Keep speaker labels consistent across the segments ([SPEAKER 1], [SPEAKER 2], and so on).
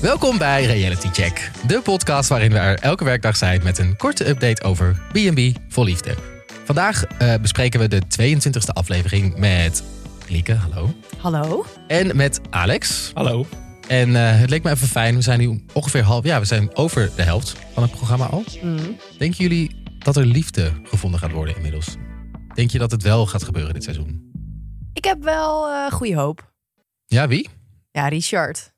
[SPEAKER 1] Welkom bij Reality Check, de podcast waarin we er elke werkdag zijn met een korte update over B&B voor liefde. Vandaag eh, bespreken we de 22e aflevering met Lieke, hallo,
[SPEAKER 2] Hallo?
[SPEAKER 1] en met Alex.
[SPEAKER 3] Hallo.
[SPEAKER 1] En eh, het leek me even fijn, we zijn nu ongeveer half, ja, we zijn over de helft van het programma al. Denken jullie dat er liefde gevonden gaat worden inmiddels? Denk je dat het wel gaat gebeuren dit seizoen?
[SPEAKER 2] Ik heb wel eh goede hoop.
[SPEAKER 1] Ja, wie?
[SPEAKER 2] Ja, Richard.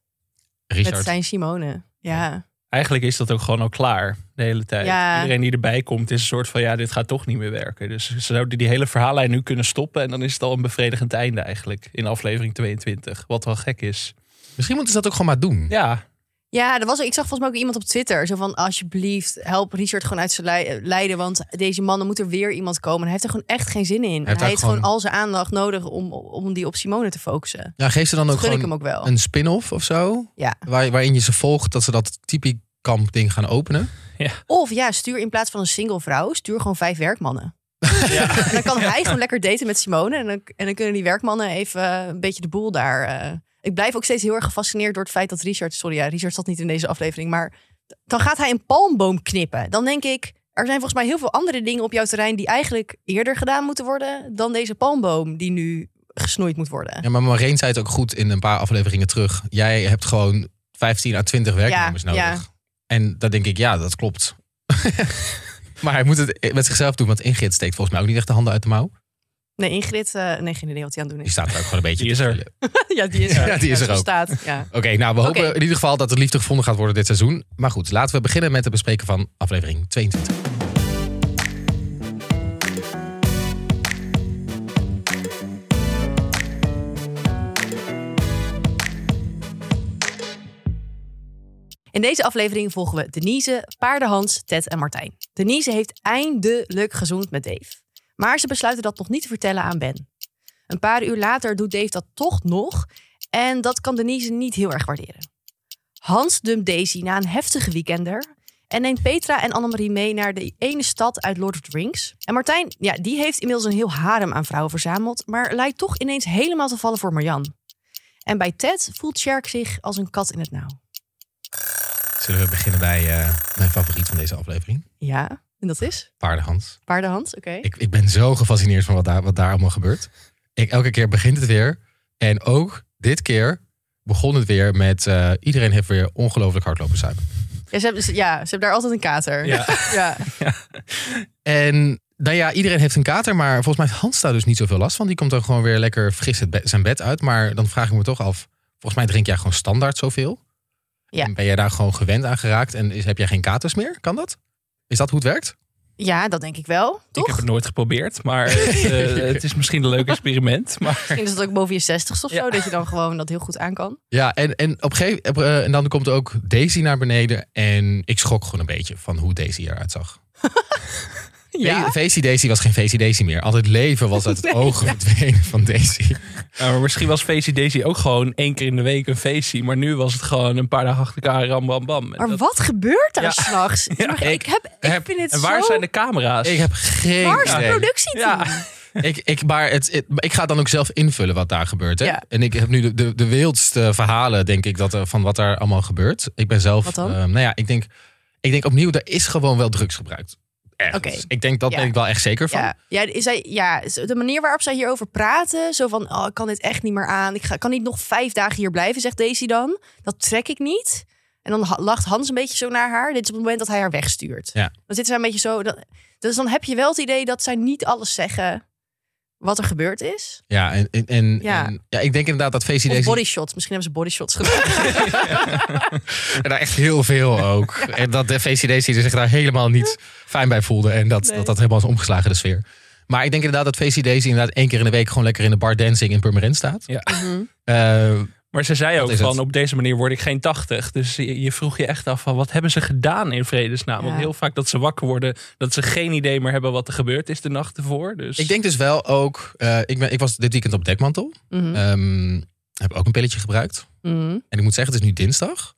[SPEAKER 1] Richard.
[SPEAKER 2] Met zijn Simone. Ja.
[SPEAKER 3] Eigenlijk is dat ook gewoon al klaar de hele tijd.
[SPEAKER 2] Ja.
[SPEAKER 3] Iedereen die erbij komt is een soort van ja, dit gaat toch niet meer werken. Dus ze zouden die hele verhaallijn nu kunnen stoppen en dan is het al een bevredigend einde eigenlijk in aflevering 22. Wat wel gek is.
[SPEAKER 1] Misschien moeten ze dat ook gewoon maar doen.
[SPEAKER 3] Ja,
[SPEAKER 2] Ja, er was, ik zag volgens mij ook iemand op Twitter. Zo van, alsjeblieft, help Richard gewoon uit zijn lei- lijden. Want deze man, dan moet er weer iemand komen. Hij heeft er gewoon echt geen zin in.
[SPEAKER 1] heeft
[SPEAKER 2] Hij heeft,
[SPEAKER 1] ook
[SPEAKER 2] gewoon...
[SPEAKER 1] gewoon
[SPEAKER 2] al zijn aandacht nodig om, om die op Simone te focussen.
[SPEAKER 1] Ja, Nou, geef ze dan
[SPEAKER 2] Dat
[SPEAKER 1] ook
[SPEAKER 2] gun ik
[SPEAKER 1] gewoon
[SPEAKER 2] hem ook wel.
[SPEAKER 1] een spin-off of zo.
[SPEAKER 2] Ja.
[SPEAKER 1] Waar, waarin je ze volgt dat ze dat typisch kamp ding gaan openen.
[SPEAKER 2] Of ja, stuur in plaats van een single vrouw, stuur gewoon vijf werkmannen. En dan kan hij gewoon lekker daten met Simone. En dan, en dan kunnen die werkmannen even eh, een beetje de boel daar. eh. Ik blijf ook steeds heel erg gefascineerd door het feit dat Richard. Sorry, ja, Richard zat niet in deze aflevering. Maar d- dan gaat hij een palmboom knippen. Dan denk ik. Er zijn volgens mij heel veel andere dingen op jouw terrein die eigenlijk eerder gedaan moeten worden dan deze palmboom die nu gesnoeid moet worden.
[SPEAKER 1] Ja, maar Marijn zei het ook goed in een paar afleveringen terug. Jij hebt gewoon 15 à 20 werknemers
[SPEAKER 2] Ja,
[SPEAKER 1] nodig.
[SPEAKER 2] ja.
[SPEAKER 1] En dan denk ik, ja, dat klopt. maar hij moet het met zichzelf doen, want Ingrid steekt volgens mij ook niet echt de handen uit de mouw.
[SPEAKER 2] Nee, Ingrid, eh, nee, geen idee wat hij aan het doen
[SPEAKER 1] Die
[SPEAKER 2] is.
[SPEAKER 1] staat er ook gewoon een beetje.
[SPEAKER 3] Die is
[SPEAKER 1] te
[SPEAKER 3] er.
[SPEAKER 1] spelen.
[SPEAKER 2] ja, die is er.
[SPEAKER 1] Ja, die is
[SPEAKER 2] zo
[SPEAKER 1] er ook.
[SPEAKER 2] Staat, ja.
[SPEAKER 1] Oké, nou, we
[SPEAKER 2] Oké.
[SPEAKER 1] hopen in ieder geval dat er liefde gevonden gaat worden dit seizoen. Maar goed, laten we beginnen met het bespreken van aflevering 22.
[SPEAKER 2] In deze aflevering volgen we Denise, Paardenhans, Ted en Martijn. Denise heeft eindelijk gezoend met Dave. Maar ze besluiten dat nog niet te vertellen aan Ben. Een paar uur later doet Dave dat toch nog. En dat kan Denise niet heel erg waarderen. Hans dumpt Daisy na een heftige weekender. En neemt Petra en Annemarie mee naar de ene stad uit Lord of the Rings. En Martijn, ja, die heeft inmiddels een heel harem aan vrouwen verzameld. Maar lijkt toch ineens helemaal te vallen voor Marjan. En bij Ted voelt Sherk zich als een kat in het nauw.
[SPEAKER 1] Zullen we beginnen bij eh, mijn favoriet van deze aflevering,
[SPEAKER 2] Ja, en dat is?
[SPEAKER 1] Paardenhans.
[SPEAKER 2] Paardenhand, oké.
[SPEAKER 1] Ik, ik ben zo gefascineerd van wat daar, wat daar allemaal gebeurt. Ik, elke keer begint het weer. En ook dit keer begon het weer met... eh, iedereen heeft weer ongelooflijk hardlopen zuipen.
[SPEAKER 2] Ja, ze hebben, ze- ja, ze hebben daar altijd een kater.
[SPEAKER 3] Ja.
[SPEAKER 2] ja.
[SPEAKER 1] En nou ja, iedereen heeft een kater. Maar volgens mij heeft Hans daar dus niet zoveel last van. Die komt dan gewoon weer lekker fris het be- zijn bed uit. Maar dan vraag ik me toch af... Volgens mij drink jij gewoon standaard zoveel.
[SPEAKER 2] Ja.
[SPEAKER 1] En ben jij daar gewoon gewend aan geraakt? En is, heb jij geen katers meer? Kan dat? Is dat hoe het werkt?
[SPEAKER 2] Ja, dat denk ik wel,
[SPEAKER 3] ik
[SPEAKER 2] toch?
[SPEAKER 3] heb het nooit geprobeerd, maar het, eh, het is misschien een leuk experiment. Maar
[SPEAKER 2] Misschien is het ook boven je zestigste of
[SPEAKER 3] Ja.
[SPEAKER 2] zo, dat je dan gewoon dat heel goed aan kan.
[SPEAKER 1] Ja, en, en, op een gegeven, op, eh, en dan komt ook Daisy naar beneden. En ik schrok gewoon een beetje van hoe Daisy eruit zag.
[SPEAKER 2] Ja,
[SPEAKER 1] Daisy Daisy was geen Daisy Daisy meer. Al het leven was uit het oog verdwenen van Daisy.
[SPEAKER 3] Maar misschien was Feestie Daisy ook gewoon één keer in de week een feestje. Maar nu was het gewoon een paar dagen achter elkaar ram bam bam. En,
[SPEAKER 2] maar
[SPEAKER 3] dat-
[SPEAKER 2] wat gebeurt daar
[SPEAKER 3] Ja.
[SPEAKER 2] s'nachts? Maar ik, heb, ik
[SPEAKER 1] heb-
[SPEAKER 2] vind het
[SPEAKER 3] en waar
[SPEAKER 2] zo...
[SPEAKER 3] zijn de camera's?
[SPEAKER 1] Ik heb geen
[SPEAKER 2] Waar is de
[SPEAKER 1] idee.
[SPEAKER 2] productie
[SPEAKER 3] Ja.
[SPEAKER 1] Ik, ik, maar het, het- maar ik ga dan ook zelf invullen wat daar gebeurt. Hè?
[SPEAKER 2] Ja.
[SPEAKER 1] En ik heb nu de, de, de wildste verhalen, denk ik, dat er, van wat daar allemaal gebeurt. Ik ben zelf...
[SPEAKER 2] Wat dan?
[SPEAKER 1] ehm, nou ja, ik denk, ik denk opnieuw, er is gewoon wel drugs gebruikt. Ergens.
[SPEAKER 2] Oké.
[SPEAKER 1] Ik denk, dat
[SPEAKER 2] Ja.
[SPEAKER 1] ben ik wel echt zeker van.
[SPEAKER 2] Ja, ja, is hij, ja, de manier waarop zij hierover praten, zo van, oh, ik kan dit echt niet meer aan. Ik ga, kan niet nog vijf dagen hier blijven, zegt Daisy dan. Dat trek ik niet. En dan ha- lacht Hans een beetje zo naar haar. Dit is op het moment dat hij haar wegstuurt.
[SPEAKER 1] Ja.
[SPEAKER 2] Dan zitten zij een beetje zo. dan- dus dan heb je wel het idee dat zij niet alles zeggen wat er gebeurd is.
[SPEAKER 1] Ja, en, en, en- en- ja.
[SPEAKER 2] Ja.
[SPEAKER 1] ik denk inderdaad dat Feestie
[SPEAKER 2] Of
[SPEAKER 1] Daisy...
[SPEAKER 2] bodyshots. Misschien hebben ze bodyshots gedaan.
[SPEAKER 1] En daar echt heel veel ook. En dat de VCDC zich daar helemaal niet fijn bij voelde. En dat
[SPEAKER 2] Nee.
[SPEAKER 1] dat, dat helemaal is omgeslagen, de sfeer. Maar ik denk inderdaad dat VCDC inderdaad één keer in de week... gewoon lekker in de bar dancing in Purmerend staat.
[SPEAKER 3] Ja.
[SPEAKER 2] Mhm.
[SPEAKER 1] Eh,
[SPEAKER 3] Maar ze zei
[SPEAKER 1] Dat
[SPEAKER 3] ook
[SPEAKER 1] is
[SPEAKER 3] van,
[SPEAKER 1] het.
[SPEAKER 3] op deze manier word ik geen 80. Dus je, je vroeg je echt af van, wat hebben ze gedaan in vredesnaam?
[SPEAKER 2] Ja.
[SPEAKER 3] Want heel vaak dat ze wakker worden, dat ze geen idee meer hebben wat er gebeurd is de nacht ervoor. Dus
[SPEAKER 1] ik denk dus wel ook... eh, ik, ben, ik was dit weekend op dekmantel.
[SPEAKER 2] Mhm.
[SPEAKER 1] Ehm, heb ook een pilletje gebruikt.
[SPEAKER 2] Mhm.
[SPEAKER 1] En ik moet zeggen, het is nu dinsdag.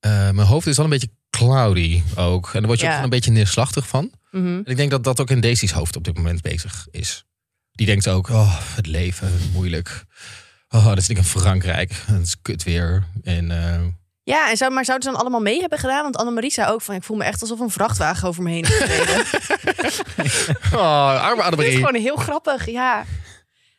[SPEAKER 1] Eh, mijn hoofd is al een beetje cloudy ook. En daar word je
[SPEAKER 2] Ja.
[SPEAKER 1] ook gewoon een beetje neerslachtig van.
[SPEAKER 2] Mhm.
[SPEAKER 1] En ik denk dat dat ook in Daisy's hoofd op dit moment bezig is. Die denkt ook, oh, het leven, moeilijk. Oh, dat zit ik in Frankrijk. Het is kut weer. En eh,
[SPEAKER 2] Ja, en zou, maar zouden ze dan allemaal mee hebben gedaan? Want Annemarie zei ook van, ik voel me echt alsof een vrachtwagen over me heen is gereden.
[SPEAKER 1] Oh, arme
[SPEAKER 2] Het is
[SPEAKER 1] Annemarie.
[SPEAKER 2] gewoon heel grappig, ja.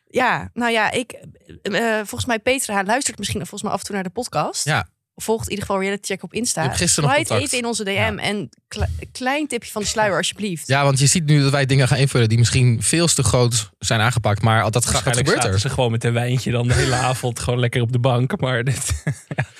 [SPEAKER 2] Ja, nou ja, ik, eh, eh, volgens mij Petra luistert misschien volgens mij af en toe naar de podcast.
[SPEAKER 1] Ja.
[SPEAKER 2] Volgt in ieder geval Reality Check op Insta.
[SPEAKER 1] Ik heb gisteren nog
[SPEAKER 2] Slide
[SPEAKER 1] contact.
[SPEAKER 2] even in onze DM
[SPEAKER 1] Ja.
[SPEAKER 2] en kle- klein tipje van de sluier alsjeblieft.
[SPEAKER 1] Ja, want je ziet nu dat wij dingen gaan invullen die misschien veel te groot zijn aangepakt. Maar dat, gaat dat
[SPEAKER 3] Waarschijnlijk
[SPEAKER 1] gebeurt
[SPEAKER 3] zaten
[SPEAKER 1] er.
[SPEAKER 3] ze gewoon met een wijntje dan de hele avond gewoon lekker op de bank. Maar dit,
[SPEAKER 2] Dan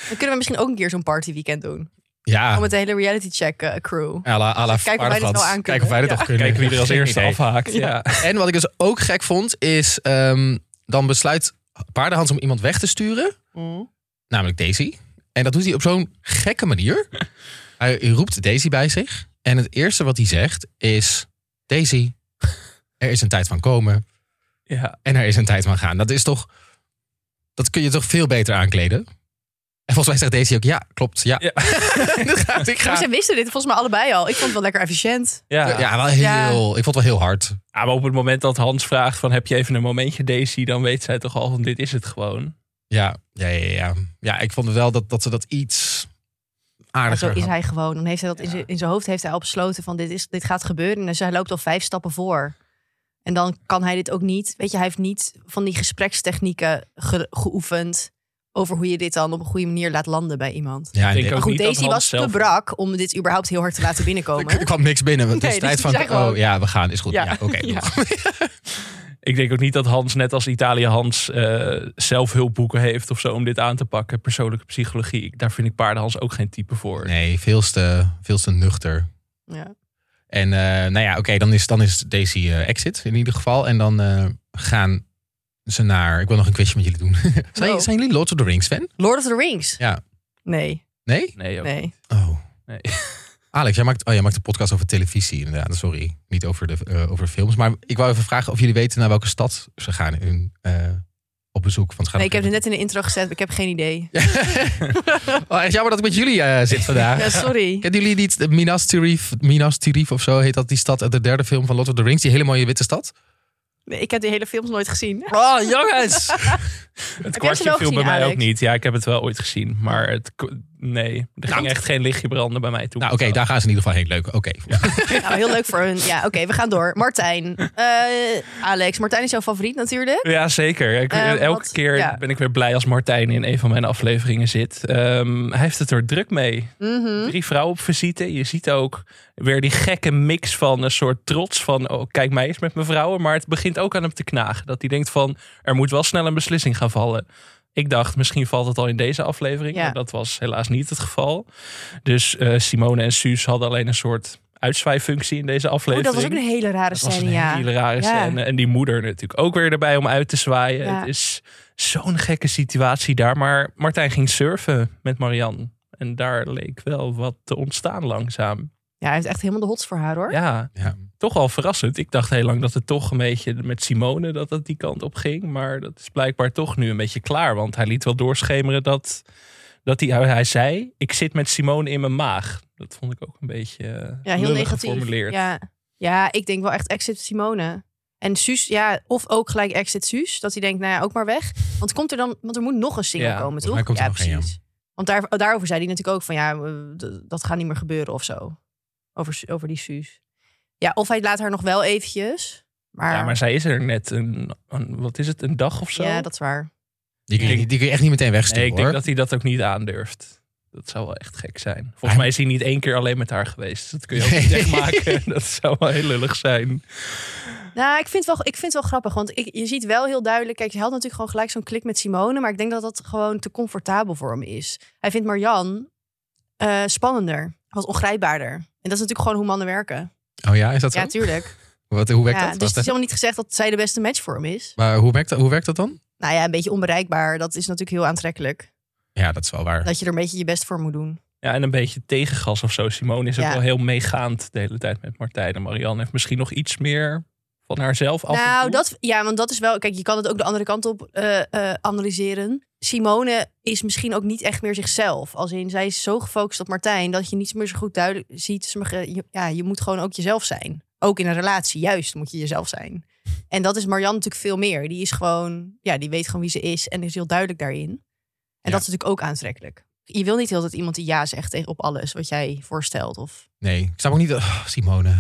[SPEAKER 2] kunnen we misschien ook een keer zo'n partyweekend doen.
[SPEAKER 1] Ja,
[SPEAKER 2] Om met de hele Reality Check eh, crew.
[SPEAKER 1] à la, à la
[SPEAKER 2] Kijken Oh, of wij dit wel
[SPEAKER 1] Vaardigland.
[SPEAKER 2] aan
[SPEAKER 1] Kijken of wij dit
[SPEAKER 2] kunnen.
[SPEAKER 1] nog kunnen.
[SPEAKER 3] kijken wie er als
[SPEAKER 1] Geen
[SPEAKER 3] eerste
[SPEAKER 1] idee.
[SPEAKER 3] afhaakt. Ja.
[SPEAKER 1] En wat ik dus ook gek vond, is ehm, dan besluit Paardenhans om iemand weg te sturen. Namelijk Daisy. En dat doet hij op zo'n gekke manier. Hij roept Daisy bij zich. En het eerste wat hij zegt is... Daisy, er is een tijd van komen
[SPEAKER 3] Ja.
[SPEAKER 1] en er is een tijd van gaan. Dat is toch... Dat kun je toch veel beter aankleden? En volgens mij zegt Daisy ook, ja, klopt, ja.
[SPEAKER 3] Ja.
[SPEAKER 1] Dat gaat, ik
[SPEAKER 2] Maar
[SPEAKER 1] ga...
[SPEAKER 2] ze wisten dit volgens mij allebei al. Ik vond het wel lekker efficiënt.
[SPEAKER 3] Ja.
[SPEAKER 1] Ja, wel heel, ik vond het wel heel hard.
[SPEAKER 3] Ah, maar op het moment dat Hans vraagt van heb je even een momentje Daisy, dan weet zij toch al van dit is het gewoon.
[SPEAKER 1] Ja, ja, ja, ja. ja ik vond wel dat, dat ze dat iets
[SPEAKER 2] Maar
[SPEAKER 1] aardiger
[SPEAKER 2] zo is
[SPEAKER 1] hadden.
[SPEAKER 2] hij gewoon. Dan heeft hij dat in
[SPEAKER 3] Ja.
[SPEAKER 2] zijn- in zijn hoofd heeft hij al besloten van dit, is, dit gaat gebeuren. En zij loopt al vijf stappen voor. En dan kan hij dit ook niet. Weet je, hij heeft niet van die gesprekstechnieken ge- geoefend over hoe je dit dan op een goede manier laat landen bij iemand.
[SPEAKER 1] Ja, en
[SPEAKER 3] Ik
[SPEAKER 1] dit-
[SPEAKER 3] denk ook
[SPEAKER 2] Maar goed,
[SPEAKER 3] niet dat
[SPEAKER 2] Daisy
[SPEAKER 3] Hans
[SPEAKER 2] was te
[SPEAKER 3] zelf-
[SPEAKER 2] brak om dit überhaupt heel hard te laten binnenkomen.
[SPEAKER 1] er kwam niks binnen. want Het
[SPEAKER 2] Nee,
[SPEAKER 1] is tijd
[SPEAKER 2] dus die
[SPEAKER 1] van,
[SPEAKER 2] zei gewoon-
[SPEAKER 1] oh ja, we gaan, is goed. Ja,
[SPEAKER 3] Ja.
[SPEAKER 1] oké.
[SPEAKER 2] Ja.
[SPEAKER 1] doeg.
[SPEAKER 3] Ik denk ook niet dat Hans, net als Italië Hans, eh, zelf hulpboeken heeft of zo om dit aan te pakken. Persoonlijke psychologie, Ik- daar vind ik paardenhans ook geen type voor.
[SPEAKER 1] Nee, veel te, veel te nuchter.
[SPEAKER 2] Ja.
[SPEAKER 1] En eh, nou ja, oké, dan, is, dan is Daisy eh, exit in ieder geval. En dan eh, gaan ze naar... Ik wil nog een quizje met jullie doen. zijn,
[SPEAKER 2] Oh.
[SPEAKER 1] zijn jullie Lord of the Rings fan?
[SPEAKER 2] Lord of the Rings.
[SPEAKER 1] Ja.
[SPEAKER 2] Nee,
[SPEAKER 1] Nee?
[SPEAKER 3] Nee, ook.
[SPEAKER 2] nee.
[SPEAKER 1] Oh.
[SPEAKER 3] Nee.
[SPEAKER 1] Alex, jij maakt, oh, jij maakt een podcast over televisie inderdaad. Sorry, niet over, de, eh, over films. Maar ik wou even vragen of jullie weten naar welke stad ze gaan in, hun, eh, op bezoek. Want ze gaan
[SPEAKER 2] Nee, ik heb het net in de intro gezet. Ik heb geen idee.
[SPEAKER 1] oh, echt jammer dat ik met jullie eh, zit vandaag.
[SPEAKER 2] Ja, sorry.
[SPEAKER 1] Kennen jullie niet de Minas Tirith, Minas Tirith of zo heet dat die stad uit de derde film van Lord of the Rings? Die hele mooie witte stad?
[SPEAKER 2] Nee, ik heb die hele films nooit gezien.
[SPEAKER 3] Oh, jongens! het
[SPEAKER 2] wel
[SPEAKER 3] kwartje viel
[SPEAKER 2] gezien,
[SPEAKER 3] bij mij
[SPEAKER 2] Alex?
[SPEAKER 3] ook niet. Ja, ik heb het wel ooit gezien, maar het, ko- nee, er ging echt geen lichtje branden bij mij toen.
[SPEAKER 1] Nou oké, daar gaan ze in ieder geval heen. Leuk, oké.
[SPEAKER 2] Nou, heel leuk voor hun. Ja, oké, we gaan door. Martijn. Eh, Alex, Martijn is jouw favoriet natuurlijk.
[SPEAKER 3] Ja, zeker. Ik,
[SPEAKER 2] Eh,
[SPEAKER 3] elke
[SPEAKER 2] wat-
[SPEAKER 3] keer
[SPEAKER 2] ja.
[SPEAKER 3] ben ik weer blij als Martijn in een van mijn afleveringen zit. Ehm, hij heeft het er druk mee.
[SPEAKER 2] Mhm.
[SPEAKER 3] Drie vrouwen op visite. Je ziet ook weer die gekke mix van een soort trots van... Oh, kijk mij eens met mijn vrouwen. Maar het begint ook aan hem te knagen. Dat hij denkt van, er moet wel snel een beslissing gaan vallen. Ik dacht, misschien valt het al in deze aflevering.
[SPEAKER 2] Ja.
[SPEAKER 3] Maar dat was helaas niet het geval. Dus eh, Simone en Suus hadden alleen een soort uitzwaaifunctie in deze
[SPEAKER 2] Oh,
[SPEAKER 3] aflevering.
[SPEAKER 2] dat was ook een hele rare
[SPEAKER 3] Dat was
[SPEAKER 2] scène,
[SPEAKER 3] een
[SPEAKER 2] ja.
[SPEAKER 3] hele rare
[SPEAKER 2] Ja.
[SPEAKER 3] scène. En die moeder natuurlijk ook weer erbij om uit te zwaaien.
[SPEAKER 2] Ja.
[SPEAKER 3] Het is zo'n gekke situatie daar. Maar Martijn ging surfen met Marianne. En daar leek wel wat te ontstaan langzaam.
[SPEAKER 2] Ja, hij heeft echt helemaal de hots voor haar, hoor.
[SPEAKER 3] Ja,
[SPEAKER 1] Ja.
[SPEAKER 3] toch al verrassend. Ik dacht heel lang dat het toch een beetje met Simone dat het die kant op ging. Maar dat is blijkbaar toch nu een beetje klaar. Want hij liet wel doorschemeren dat, dat hij, hij zei... ik zit met Simone in mijn maag. Dat vond ik ook een beetje
[SPEAKER 2] Ja, heel
[SPEAKER 3] lullig
[SPEAKER 2] negatief.
[SPEAKER 3] geformuleerd.
[SPEAKER 2] Ja. ja, ik denk wel echt exit Simone. En Suus, ja, of ook gelijk exit Suus. Dat hij denkt, nou ja, ook maar weg. Want komt er dan, want er moet nog een single
[SPEAKER 3] Ja,
[SPEAKER 2] komen,
[SPEAKER 1] volgens
[SPEAKER 2] toch?
[SPEAKER 1] mij komt er
[SPEAKER 2] ja,
[SPEAKER 1] nog een, ja.
[SPEAKER 2] Want daar, daarover zei hij natuurlijk ook van, ja, eh, d- dat gaat niet meer gebeuren of zo. Over, Su- over die Suus. Ja, of hij laat haar nog wel eventjes. Maar,
[SPEAKER 3] Ja, maar zij is er net een, een- wat is het, een dag of zo?
[SPEAKER 2] ja dat is waar.
[SPEAKER 1] Die, kun je, die kun je echt niet meteen
[SPEAKER 3] nee,
[SPEAKER 1] wegsturen
[SPEAKER 3] ik denk
[SPEAKER 1] hoor.
[SPEAKER 3] dat hij dat ook niet aandurft. Dat zou wel echt gek zijn. Volgens
[SPEAKER 1] Hij-
[SPEAKER 3] mij is hij niet één keer alleen met haar geweest. Dat kun je ook niet
[SPEAKER 1] Nee.
[SPEAKER 3] echt maken. Dat zou wel heel lullig zijn.
[SPEAKER 2] Nou, ik vind het wel, ik vind het wel grappig. Want ik, je ziet wel heel duidelijk. Kijk, hij had natuurlijk gewoon gelijk zo'n klik met Simone. Maar ik denk dat dat gewoon te comfortabel voor hem is. Hij vindt Marian eh, spannender. Wat ongrijpbaarder. En dat is natuurlijk gewoon hoe mannen werken.
[SPEAKER 1] Oh ja, is dat zo?
[SPEAKER 2] Ja, tuurlijk.
[SPEAKER 1] Wat, hoe werkt
[SPEAKER 2] Ja,
[SPEAKER 1] dat?
[SPEAKER 2] dus het
[SPEAKER 1] Wacht,
[SPEAKER 2] is
[SPEAKER 1] hè?
[SPEAKER 2] helemaal niet gezegd dat zij de beste match voor hem is.
[SPEAKER 1] Maar hoe werkt, dat, hoe werkt dat dan?
[SPEAKER 2] Nou ja, een beetje onbereikbaar. Dat is natuurlijk heel aantrekkelijk.
[SPEAKER 1] Ja, dat is wel waar.
[SPEAKER 2] Dat je er een beetje je best voor moet doen.
[SPEAKER 3] Ja, en een beetje tegengas of zo. Simone is ook
[SPEAKER 2] Ja.
[SPEAKER 3] wel heel meegaand de hele tijd met Martijn. En Marianne heeft misschien nog iets meer van haarzelf af en
[SPEAKER 2] nou,
[SPEAKER 3] toe.
[SPEAKER 2] dat, ja, want dat is wel. Kijk, je kan het ook de andere kant op eh, eh, analyseren. Simone is misschien ook niet echt meer zichzelf. Als in, zij is zo gefocust op Martijn dat je niet meer zo goed duidelijk ziet. Ze mag, eh, je- Ja, je moet gewoon ook jezelf zijn. Ook in een relatie, juist moet je jezelf zijn. En dat is Marianne natuurlijk veel meer. Die is gewoon, ja, die weet gewoon wie ze is en is heel duidelijk daarin.
[SPEAKER 1] Ja.
[SPEAKER 2] En dat is natuurlijk ook aantrekkelijk. Je wil niet heel dat iemand die ja zegt tegen op alles wat jij voorstelt. Of,
[SPEAKER 1] Nee, ik snap ook niet... dat- Oh, Simone.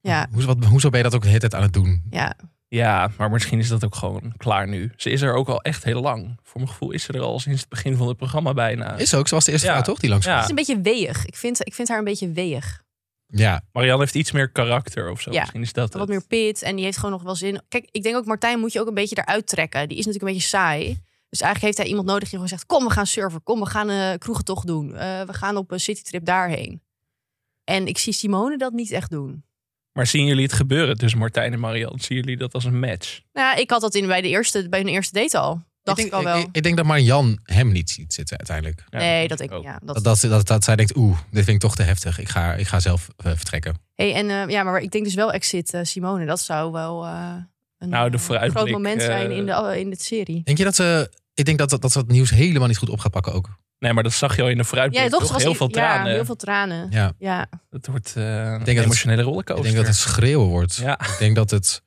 [SPEAKER 2] ja,
[SPEAKER 1] Hoezo, wat, hoezo ben je dat ook de hele tijd aan het doen?
[SPEAKER 2] ja,
[SPEAKER 3] Ja, maar misschien is dat ook gewoon klaar nu. Ze is er ook al echt heel lang. Voor mijn gevoel is ze er al sinds het begin van het programma bijna.
[SPEAKER 1] Is ook, ze was de eerste
[SPEAKER 3] Ja.
[SPEAKER 1] vrouw toch die langs
[SPEAKER 3] Ja.
[SPEAKER 2] Het is een beetje weeg. Ik vind, ik vind haar een beetje weeg.
[SPEAKER 1] ja.
[SPEAKER 3] Marianne heeft iets meer karakter of zo.
[SPEAKER 2] Ja,
[SPEAKER 3] Misschien is dat
[SPEAKER 2] Wat
[SPEAKER 3] het.
[SPEAKER 2] meer pit en die heeft gewoon nog wel zin. Kijk, ik denk ook Martijn moet je ook een beetje eruit trekken. Die is natuurlijk een beetje saai. Dus eigenlijk heeft hij iemand nodig die gewoon zegt... kom, we gaan surfen. Kom, we gaan eh kroegentocht doen. Eh, we gaan op een citytrip daarheen. En ik zie Simone dat niet echt doen.
[SPEAKER 3] Maar zien jullie het gebeuren tussen Martijn en Marianne? Zien jullie dat als een match?
[SPEAKER 2] Nou, ja, ik had dat in, bij, de eerste, bij hun eerste date al. Dacht ik,
[SPEAKER 1] denk,
[SPEAKER 2] al wel.
[SPEAKER 1] Ik, ik denk dat Marian hem niet ziet zitten uiteindelijk.
[SPEAKER 3] Ja,
[SPEAKER 2] nee,
[SPEAKER 3] denk
[SPEAKER 2] dat ik
[SPEAKER 3] ook.
[SPEAKER 2] ja, dat,
[SPEAKER 1] Dat, dat, dat, dat zij denkt, oeh, dit vind ik toch te heftig. Ik ga, ik ga zelf eh, vertrekken.
[SPEAKER 2] Hey, en eh, ja, maar ik denk dus wel exit eh, Simone. Dat zou wel eh, een
[SPEAKER 3] Nou, de
[SPEAKER 2] eh, groot
[SPEAKER 3] vooruitblik,
[SPEAKER 2] moment
[SPEAKER 3] eh,
[SPEAKER 2] zijn in de, in de serie.
[SPEAKER 1] Denk je dat ze... Ik denk dat, dat, dat ze het nieuws helemaal niet goed op gaat pakken ook.
[SPEAKER 3] Nee, maar dat zag je al in de vooruitblik.
[SPEAKER 2] Ja,
[SPEAKER 3] toch,
[SPEAKER 2] toch was
[SPEAKER 3] heel
[SPEAKER 2] die-
[SPEAKER 3] veel tranen.
[SPEAKER 2] Ja, heel veel tranen.
[SPEAKER 1] Ja.
[SPEAKER 2] Ja,
[SPEAKER 3] Het wordt eh,
[SPEAKER 1] dat
[SPEAKER 3] een
[SPEAKER 1] het-
[SPEAKER 3] emotionele
[SPEAKER 1] Ik
[SPEAKER 3] rollercoaster.
[SPEAKER 1] denk dat het schreeuwen wordt.
[SPEAKER 3] Ja,
[SPEAKER 1] Ik denk dat het...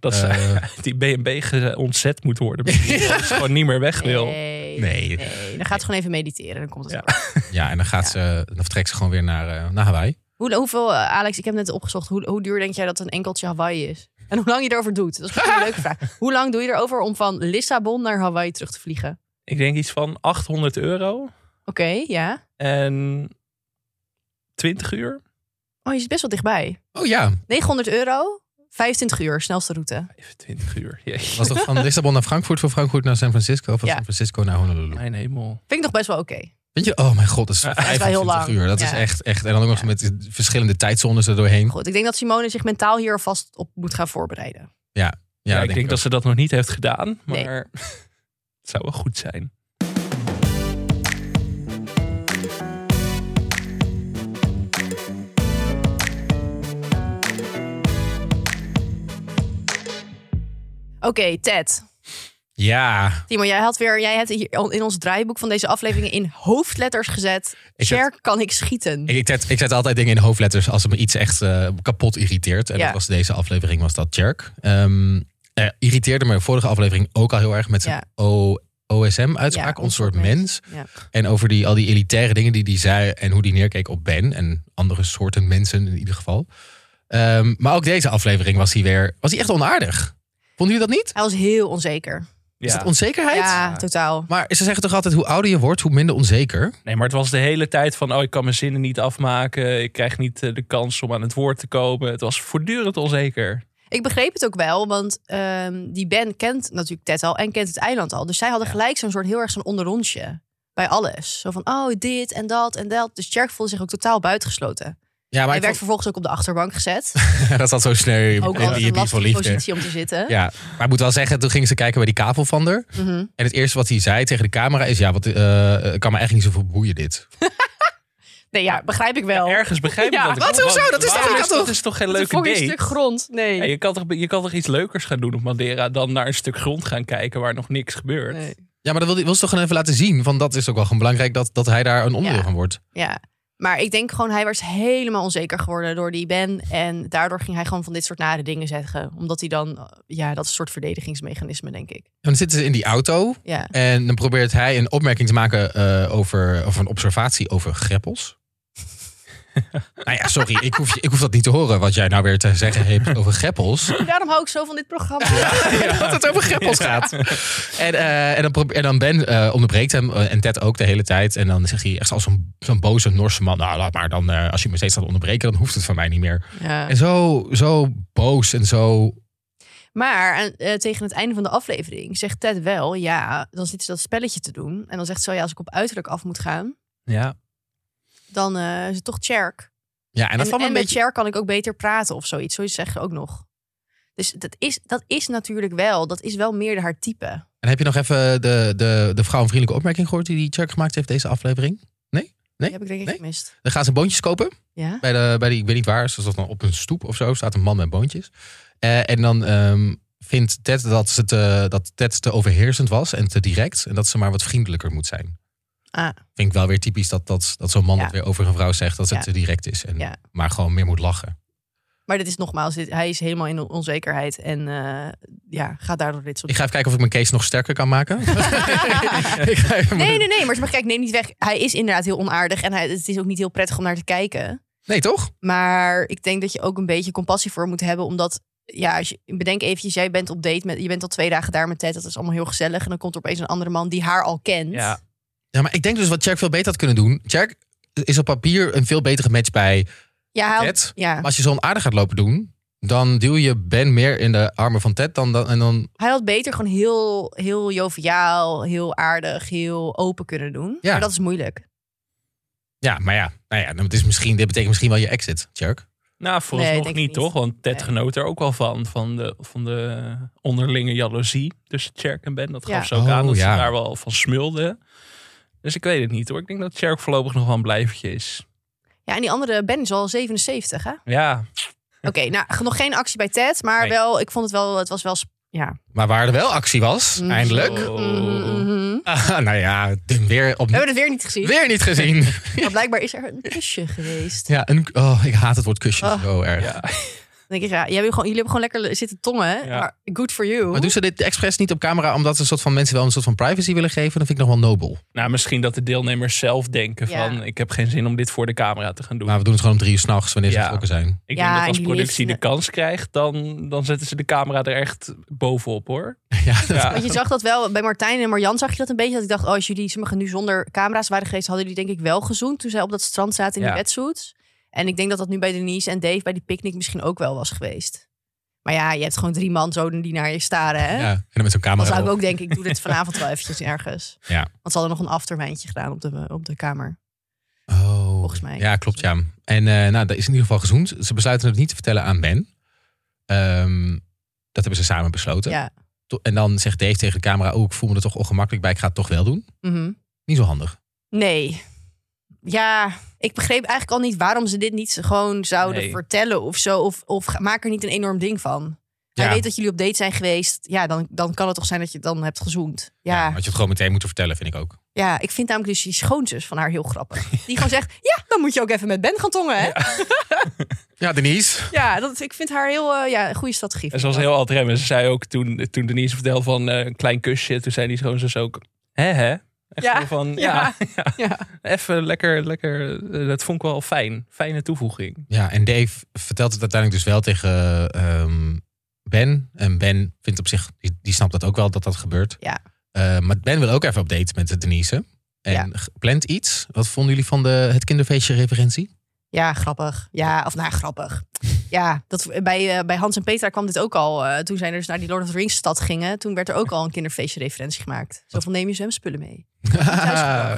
[SPEAKER 3] dat ze
[SPEAKER 1] eh,
[SPEAKER 3] uit die B&B ge- ontzet moet worden. misschien. Dat ze gewoon niet meer weg wil.
[SPEAKER 2] Nee.
[SPEAKER 1] nee.
[SPEAKER 2] Nee, dan gaat ze gewoon even mediteren. Dan komt het
[SPEAKER 3] Ja.
[SPEAKER 2] wel.
[SPEAKER 1] Ja, en dan, gaat ze, dan vertrekt ze gewoon weer naar, eh, naar Hawaii.
[SPEAKER 2] Hoe, hoeveel, eh, Alex, ik heb net opgezocht. Hoe, hoe duur denk jij dat een enkeltje Hawaii is? En hoe lang je erover doet? Dat is misschien een leuke vraag. Hoe lang doe je erover om van Lissabon naar Hawaii terug te vliegen?
[SPEAKER 3] Ik denk iets van 800 euro
[SPEAKER 2] Oké, ja.
[SPEAKER 3] en 20 uur.
[SPEAKER 2] Oh, je zit best wel dichtbij.
[SPEAKER 1] Oh ja,
[SPEAKER 2] 900 euro, 25 uur, snelste route.
[SPEAKER 3] 25 uur. Jeetje.
[SPEAKER 1] was toch van Lissabon naar Frankfurt, van Frankfurt naar San Francisco, of van
[SPEAKER 2] Ja.
[SPEAKER 1] San Francisco naar Honolulu.
[SPEAKER 3] Mijn hemel.
[SPEAKER 2] Vind ik nog best wel oké.
[SPEAKER 1] Weet je, oh mijn god, dat is
[SPEAKER 3] Ja,
[SPEAKER 2] is
[SPEAKER 3] dat
[SPEAKER 2] wel heel
[SPEAKER 1] 25
[SPEAKER 2] lang.
[SPEAKER 1] uur. Dat
[SPEAKER 2] Ja.
[SPEAKER 1] is echt, echt. En dan ook nog
[SPEAKER 2] Ja.
[SPEAKER 1] met verschillende tijdzones er doorheen.
[SPEAKER 2] Goed, ik denk dat Simone zich mentaal hier alvast op moet gaan voorbereiden.
[SPEAKER 3] Ja,
[SPEAKER 1] dat
[SPEAKER 3] ik denk,
[SPEAKER 1] ook.
[SPEAKER 3] dat ze dat nog niet heeft gedaan, maar
[SPEAKER 2] Nee.
[SPEAKER 3] het zou wel goed zijn.
[SPEAKER 2] Oké, Ted.
[SPEAKER 1] Ja,
[SPEAKER 2] Timo, jij had weer, jij hebt hier in ons draaiboek van deze afleveringen in hoofdletters gezet.
[SPEAKER 1] Ik zet-
[SPEAKER 2] Cher kan ik schieten.
[SPEAKER 1] ik, ik, zet, ik zet altijd dingen in hoofdletters als het me iets echt eh, kapot irriteert. En
[SPEAKER 2] Ja.
[SPEAKER 1] dat was deze aflevering, was dat Jerk. Ehm, eh, irriteerde me de vorige aflevering ook al heel erg met zijn O- OSM-uitspraak,
[SPEAKER 2] Ja,
[SPEAKER 1] ons soort
[SPEAKER 2] ons soort
[SPEAKER 1] mens.
[SPEAKER 2] Ja.
[SPEAKER 1] En over die, al die elitaire dingen die hij zei en hoe die neerkeek op Ben en andere soorten mensen in ieder geval. Ehm, maar ook deze aflevering was hij weer, was hij echt onaardig. Vonden jullie dat niet?
[SPEAKER 2] Hij was heel onzeker.
[SPEAKER 3] Ja.
[SPEAKER 1] Is dat onzekerheid?
[SPEAKER 2] Ja, totaal.
[SPEAKER 1] Maar ze zeggen toch altijd hoe ouder je wordt, hoe minder onzeker?
[SPEAKER 3] Nee, maar het was de hele tijd van, oh, ik kan mijn zinnen niet afmaken. Ik krijg niet eh, de kans om aan het woord te komen. Het was voortdurend onzeker.
[SPEAKER 2] Ik begreep het ook wel, want ehm, die Ben kent natuurlijk Ted al en kent het eiland al. Dus zij hadden gelijk zo'n soort heel erg zo'n onderrondje bij alles. Zo van, oh, dit en dat en dat. Dus Cherk voelde zich ook totaal buitengesloten.
[SPEAKER 1] Ja, maar
[SPEAKER 2] Hij
[SPEAKER 1] ik
[SPEAKER 2] werd vervolgens ook op de achterbank gezet.
[SPEAKER 1] vond- dat zat zo sneu in
[SPEAKER 2] Ook al
[SPEAKER 1] die
[SPEAKER 2] een
[SPEAKER 1] die voor
[SPEAKER 2] lastige
[SPEAKER 1] liefde.
[SPEAKER 2] positie om te zitten.
[SPEAKER 1] Ja, maar ik moet wel zeggen, toen gingen ze kijken bij die kavelvander.
[SPEAKER 2] Mhm.
[SPEAKER 1] En het eerste wat hij zei tegen de camera is, ja, wat, eh, eh, kan me eigenlijk niet zoveel boeien dit.
[SPEAKER 2] Nee, ja, begrijp ik wel.
[SPEAKER 3] Ergens begrijp ik
[SPEAKER 2] Ja,
[SPEAKER 3] dat. ik-
[SPEAKER 1] wat? Hoezo? Dat is
[SPEAKER 3] waarom
[SPEAKER 1] toch-
[SPEAKER 3] dat is toch geen
[SPEAKER 2] Toen
[SPEAKER 3] leuke
[SPEAKER 2] vond ik
[SPEAKER 3] date?
[SPEAKER 2] een stuk grond. Nee.
[SPEAKER 3] Ja, je, kan toch, je kan toch iets leukers gaan doen op Madeira dan naar een stuk grond gaan kijken waar nog niks gebeurt?
[SPEAKER 2] Nee.
[SPEAKER 1] Ja, maar dat wil, hij- wil ze toch gewoon even laten zien. Want dat is ook wel gewoon belangrijk dat, dat hij daar een onderdeel
[SPEAKER 2] Ja.
[SPEAKER 1] van wordt.
[SPEAKER 2] Ja. Maar ik denk gewoon, hij was helemaal onzeker geworden door die Ben. En daardoor ging hij gewoon van dit soort nare dingen zeggen. Omdat hij dan, eh, ja, dat is een soort verdedigingsmechanisme, denk ik.
[SPEAKER 1] En dan zitten ze in die auto.
[SPEAKER 2] Ja.
[SPEAKER 1] En dan probeert hij een opmerking te maken eh, over, over een observatie over greppels. nou ja, sorry, ik hoef, je- ik hoef dat niet te horen wat jij nou weer te zeggen hebt over greppels.
[SPEAKER 2] Daarom hou ik zo van dit programma.
[SPEAKER 1] Dat het over greppels gaat. En, eh, en, dan, probe- en dan Ben eh, onderbreekt hem eh, en Ted ook de hele tijd. En dan zegt hij echt als zo'n zo'n boze Norse man. Nou, laat maar dan, eh, als je me steeds gaat onderbreken, dan hoeft het van mij niet meer.
[SPEAKER 2] Ja.
[SPEAKER 1] En zo, zo boos en zo...
[SPEAKER 2] Maar en, eh, tegen het einde van de aflevering zegt Ted wel, ja, dan zitten ze dat spelletje te doen. En dan zegt ze, wel, ja, als ik op uiterlijk af moet gaan,
[SPEAKER 3] Ja.
[SPEAKER 2] dan eh, is het toch Cherk.
[SPEAKER 1] Ja, en dat
[SPEAKER 2] en
[SPEAKER 1] valt me
[SPEAKER 2] en
[SPEAKER 1] een
[SPEAKER 2] met
[SPEAKER 1] beetje...
[SPEAKER 2] Cher kan ik ook beter praten of zoiets. Zoiets zeggen ook nog. Dus dat is, dat is natuurlijk wel, dat is wel meer haar type.
[SPEAKER 1] En heb je nog even de, de, de vrouwenvriendelijke opmerking gehoord die die Chuck gemaakt heeft deze aflevering?
[SPEAKER 2] Die heb ik denk ik
[SPEAKER 1] Nee?
[SPEAKER 2] gemist.
[SPEAKER 1] Dan gaan ze boontjes kopen.
[SPEAKER 2] Ja?
[SPEAKER 1] bij, de, bij die, ik weet niet waar, zoals dat dan op een stoep of zo, staat een man met boontjes. Eh, en dan ehm, vindt Ted dat, ze te, dat Ted te overheersend was en te direct. En dat ze maar wat vriendelijker moet zijn.
[SPEAKER 2] Ah.
[SPEAKER 1] Vind ik wel weer typisch dat, dat, dat zo'n man
[SPEAKER 2] Ja.
[SPEAKER 1] dat weer over een vrouw zegt dat ze
[SPEAKER 2] Ja.
[SPEAKER 1] te direct is. En
[SPEAKER 2] Ja.
[SPEAKER 1] Maar gewoon meer moet lachen.
[SPEAKER 2] Maar dit is nogmaals, dit, hij is helemaal in onzekerheid. En eh, ja, gaat daardoor dit soort
[SPEAKER 1] Ik ga even kijken of ik mijn case nog sterker kan maken. Ik ga even-
[SPEAKER 2] Nee, nee, nee. Maar, maar kijk, neem niet weg. Hij is inderdaad heel onaardig. En hij, het is ook niet heel prettig om naar te kijken.
[SPEAKER 1] Nee, toch?
[SPEAKER 2] Maar ik denk dat je ook een beetje compassie voor moet hebben. Omdat, ja, als je, bedenk eventjes, jij bent op date met... Je bent al twee dagen daar met Ted. Dat is allemaal heel gezellig. En dan komt er opeens een andere man die haar al kent.
[SPEAKER 3] Ja.
[SPEAKER 1] Ja, maar ik denk dus wat Jack veel beter had kunnen doen. Jack is op papier een veel betere match bij
[SPEAKER 2] ja, hij had-
[SPEAKER 1] Ted.
[SPEAKER 2] ja.
[SPEAKER 1] Maar als je zo onaardig gaat lopen doen, dan duw je Ben meer in de armen van Ted dan, dan en dan.
[SPEAKER 2] Hij had beter gewoon heel, heel joviaal, heel aardig, heel open kunnen doen.
[SPEAKER 1] Ja.
[SPEAKER 2] Maar dat is moeilijk.
[SPEAKER 1] Ja, maar ja, nou ja, het is misschien, dit betekent misschien wel je exit, Jack.
[SPEAKER 3] Nou,
[SPEAKER 2] Nee,
[SPEAKER 3] vooralsnog
[SPEAKER 2] denk ik
[SPEAKER 3] niet,
[SPEAKER 2] niet.
[SPEAKER 3] toch? Want Ted
[SPEAKER 2] Nee.
[SPEAKER 3] genoot er ook wel van, van de, van de onderlinge jaloezie tussen Cherk en Ben. Dat gaf
[SPEAKER 2] Ja.
[SPEAKER 3] ze ook
[SPEAKER 1] Oh,
[SPEAKER 3] aan dat
[SPEAKER 1] ja.
[SPEAKER 3] ze daar wel van smulden. Dus ik weet het niet hoor. Ik denk dat Cherk voorlopig nog wel een blijvertje is.
[SPEAKER 2] Ja, en die andere Ben is al 77, hè?
[SPEAKER 3] Ja,
[SPEAKER 2] Oké, nou, nog geen actie bij Ted. Maar
[SPEAKER 3] Nee.
[SPEAKER 2] wel, ik vond het wel, het was wel... sp- Ja.
[SPEAKER 1] Maar waar er wel actie was,
[SPEAKER 2] Mm.
[SPEAKER 1] eindelijk.
[SPEAKER 3] Zo. Oh.
[SPEAKER 2] Mhm, mhm.
[SPEAKER 1] Ah, nou ja, dun weer
[SPEAKER 2] We
[SPEAKER 1] opnieuw.
[SPEAKER 2] hebben het weer niet gezien.
[SPEAKER 1] Weer niet gezien.
[SPEAKER 2] Maar blijkbaar is er een kusje geweest.
[SPEAKER 1] Ja, een, oh, ik haat het woord kusjes
[SPEAKER 2] Oh.
[SPEAKER 1] zo erg.
[SPEAKER 3] ja.
[SPEAKER 2] Dan denk ik, ja, jij hebt gewoon, jullie hebben gewoon lekker zitten tongen. hè?
[SPEAKER 3] Ja.
[SPEAKER 2] Maar good for you.
[SPEAKER 1] Maar doen ze dit expres niet op camera omdat ze een soort van mensen wel een soort van privacy willen geven? Dan vind ik nog wel nobel.
[SPEAKER 3] nou misschien dat de deelnemers zelf denken
[SPEAKER 2] Ja.
[SPEAKER 3] van... ik heb geen zin om dit voor de camera te gaan doen.
[SPEAKER 1] Maar we doen het gewoon om drie uur s'nachts wanneer ze
[SPEAKER 3] Ja.
[SPEAKER 1] vertrokken zijn.
[SPEAKER 2] Ja,
[SPEAKER 3] ik denk dat
[SPEAKER 2] en
[SPEAKER 3] als
[SPEAKER 2] die
[SPEAKER 3] productie de
[SPEAKER 2] liefst-
[SPEAKER 3] kans krijgt, dan, dan zetten ze de camera er echt bovenop hoor.
[SPEAKER 1] Ja, dat-
[SPEAKER 3] Ja.
[SPEAKER 2] Want je zag dat wel, bij Martijn en Marjan zag je dat een beetje. Dat ik dacht, oh, als jullie sommigen nu zonder camera's waren geweest, hadden jullie denk ik wel gezoend toen zij op dat strand zaten in
[SPEAKER 3] Ja.
[SPEAKER 2] die wetsuits. En ik denk dat dat nu bij Denise en Dave bij die picknick misschien ook wel was geweest. Maar ja, je hebt gewoon drie man zo die naar je staren. Hè?
[SPEAKER 1] ja. En dan met zo'n
[SPEAKER 2] Dan
[SPEAKER 1] camera.
[SPEAKER 2] zou ik
[SPEAKER 1] erop.
[SPEAKER 2] ook denken, ik doe dit vanavond wel eventjes ergens.
[SPEAKER 1] Ja.
[SPEAKER 2] Want ze hadden nog een afterwijntje gedaan op de, op de kamer.
[SPEAKER 1] Oh.
[SPEAKER 2] Volgens mij.
[SPEAKER 1] Ja, klopt ja. En eh nou, dat is in ieder geval gezoend. Ze besluiten het niet te vertellen aan Ben. Ehm, dat hebben ze samen besloten.
[SPEAKER 2] Ja.
[SPEAKER 1] To- En dan zegt Dave tegen de camera, oh, ik voel me er toch ongemakkelijk bij. Ik ga het toch wel doen.
[SPEAKER 2] Mhm.
[SPEAKER 1] Niet zo handig.
[SPEAKER 2] Nee. Ja, ik begreep eigenlijk al niet waarom ze dit niet gewoon zouden
[SPEAKER 3] Nee.
[SPEAKER 2] vertellen of zo. Of, of ga- maak er niet een enorm ding van. Hij
[SPEAKER 1] Ja.
[SPEAKER 2] weet dat jullie op date zijn geweest. Ja, dan, dan kan het toch zijn dat je het dan hebt gezoend.
[SPEAKER 1] Ja,
[SPEAKER 2] Ja,
[SPEAKER 1] had
[SPEAKER 2] ja,
[SPEAKER 1] je het gewoon meteen moeten vertellen, vind ik ook.
[SPEAKER 2] ik vind namelijk dus die schoonzus van haar heel grappig. Die gewoon zegt, ja, dan moet je ook even met Ben gaan tongen, hè? Ja,
[SPEAKER 1] Ja, Denise.
[SPEAKER 2] dat, ik vind haar heel, eh, ja, een goede strategie.
[SPEAKER 3] En ze was heel alt remmen. Ze zei ook toen, toen Denise vertelde van eh, een klein kusje. Toen zei die schoonzus ook, hè hè? Echt
[SPEAKER 2] Ja,
[SPEAKER 3] zo van,
[SPEAKER 2] ja,
[SPEAKER 3] ja,
[SPEAKER 2] ja.
[SPEAKER 3] ja. Even lekker, lekker. eh, Dat vond ik wel fijn. Fijne toevoeging.
[SPEAKER 1] Ja, en Dave vertelt het uiteindelijk dus wel tegen ehm, Ben. En Ben vindt op zich, die, die snapt dat ook wel dat dat gebeurt.
[SPEAKER 2] Ja.
[SPEAKER 1] Eh, maar Ben wil ook even op date met Denise. En
[SPEAKER 2] Ja.
[SPEAKER 1] g- plant iets. Wat vonden jullie van de, het kinderfeestje referentie?
[SPEAKER 2] Ja, grappig. Ja, of nou, ja, grappig. Ja, dat, bij, eh, bij Hans en Petra kwam dit ook al. eh, toen zij dus naar die Lord of the Rings stad gingen, toen werd er ook al een kinderfeestje referentie gemaakt. Zo van neem je zwemspullen mee.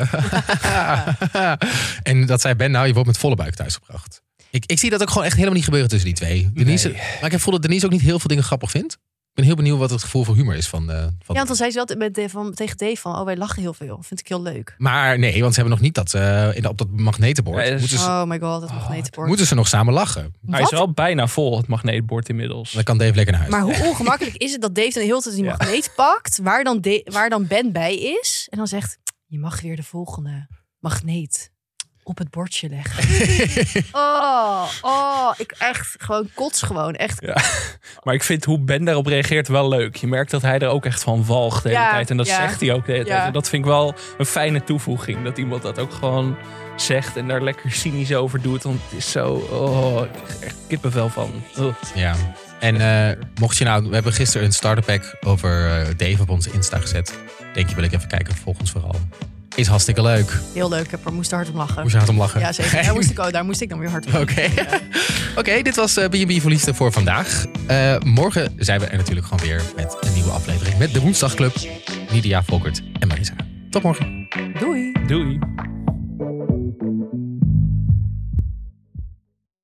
[SPEAKER 2] thuisgebracht.
[SPEAKER 1] en dat zei Ben, nou, je wordt met volle buik thuisgebracht. Ik, ik zie dat ook gewoon echt helemaal niet gebeuren tussen die twee. Denise,
[SPEAKER 3] Nee.
[SPEAKER 1] Maar ik heb gevoel dat Denise ook niet heel veel dingen grappig vindt. Ik ben heel benieuwd wat het gevoel voor humor is van... eh,
[SPEAKER 2] Ja,
[SPEAKER 1] van
[SPEAKER 2] want dan zei ze altijd met Dave van, tegen Dave van, oh wij lachen heel veel. Vind ik heel leuk.
[SPEAKER 1] Maar nee, want ze hebben nog niet dat eh, in, op dat magnetenbord.
[SPEAKER 3] Nee, dat is-
[SPEAKER 1] moeten, ze,
[SPEAKER 2] oh my god, dat
[SPEAKER 3] Oh,
[SPEAKER 2] magneetbord.
[SPEAKER 1] moeten ze nog samen lachen.
[SPEAKER 3] Hij is
[SPEAKER 2] Wat?
[SPEAKER 3] wel bijna vol, het magneetbord inmiddels.
[SPEAKER 1] Dan kan Dave lekker naar huis.
[SPEAKER 2] Maar hoe ongemakkelijk is het dat Dave dan de hele tijd die
[SPEAKER 3] Ja.
[SPEAKER 2] magneet pakt, waar dan, Da- waar dan Ben bij is. En dan zegt, je mag weer de volgende magneet op het bordje leggen. Oh, oh, ik echt gewoon kots gewoon. Echt
[SPEAKER 3] Maar ik vind hoe Ben daarop reageert wel leuk. Je merkt dat hij er ook echt van walgt de hele
[SPEAKER 2] Ja,
[SPEAKER 3] tijd. En dat
[SPEAKER 2] ja.
[SPEAKER 3] zegt hij ook de hele tijd.
[SPEAKER 2] Ja.
[SPEAKER 3] En dat vind ik wel een fijne toevoeging. Dat iemand dat ook gewoon zegt en daar lekker cynisch over doet. Want het is zo... Oh, ik krijg echt kippenvel van. Ugh.
[SPEAKER 1] Ja. En eh, mocht je nou... We hebben gisteren een starter pack over eh, Dave op onze Insta gezet. Denk je, wil ik even kijken. Volgens vooral. Is hartstikke leuk.
[SPEAKER 2] Heel leuk, ik heb er moest hard om lachen.
[SPEAKER 1] Moest je hard om lachen. Oh.
[SPEAKER 2] Ja, zeker. Daar moest, ik, ook- daar moest ik dan weer hard om
[SPEAKER 1] Oké.
[SPEAKER 2] lachen.
[SPEAKER 1] Oké, dit was eh, B&B voor Liefde voor vandaag. Eh, morgen zijn we er natuurlijk gewoon weer met een nieuwe aflevering. Met de Woensdagclub. Nidia Volkert en Marisa. Tot morgen.
[SPEAKER 2] Doei.
[SPEAKER 3] Doei.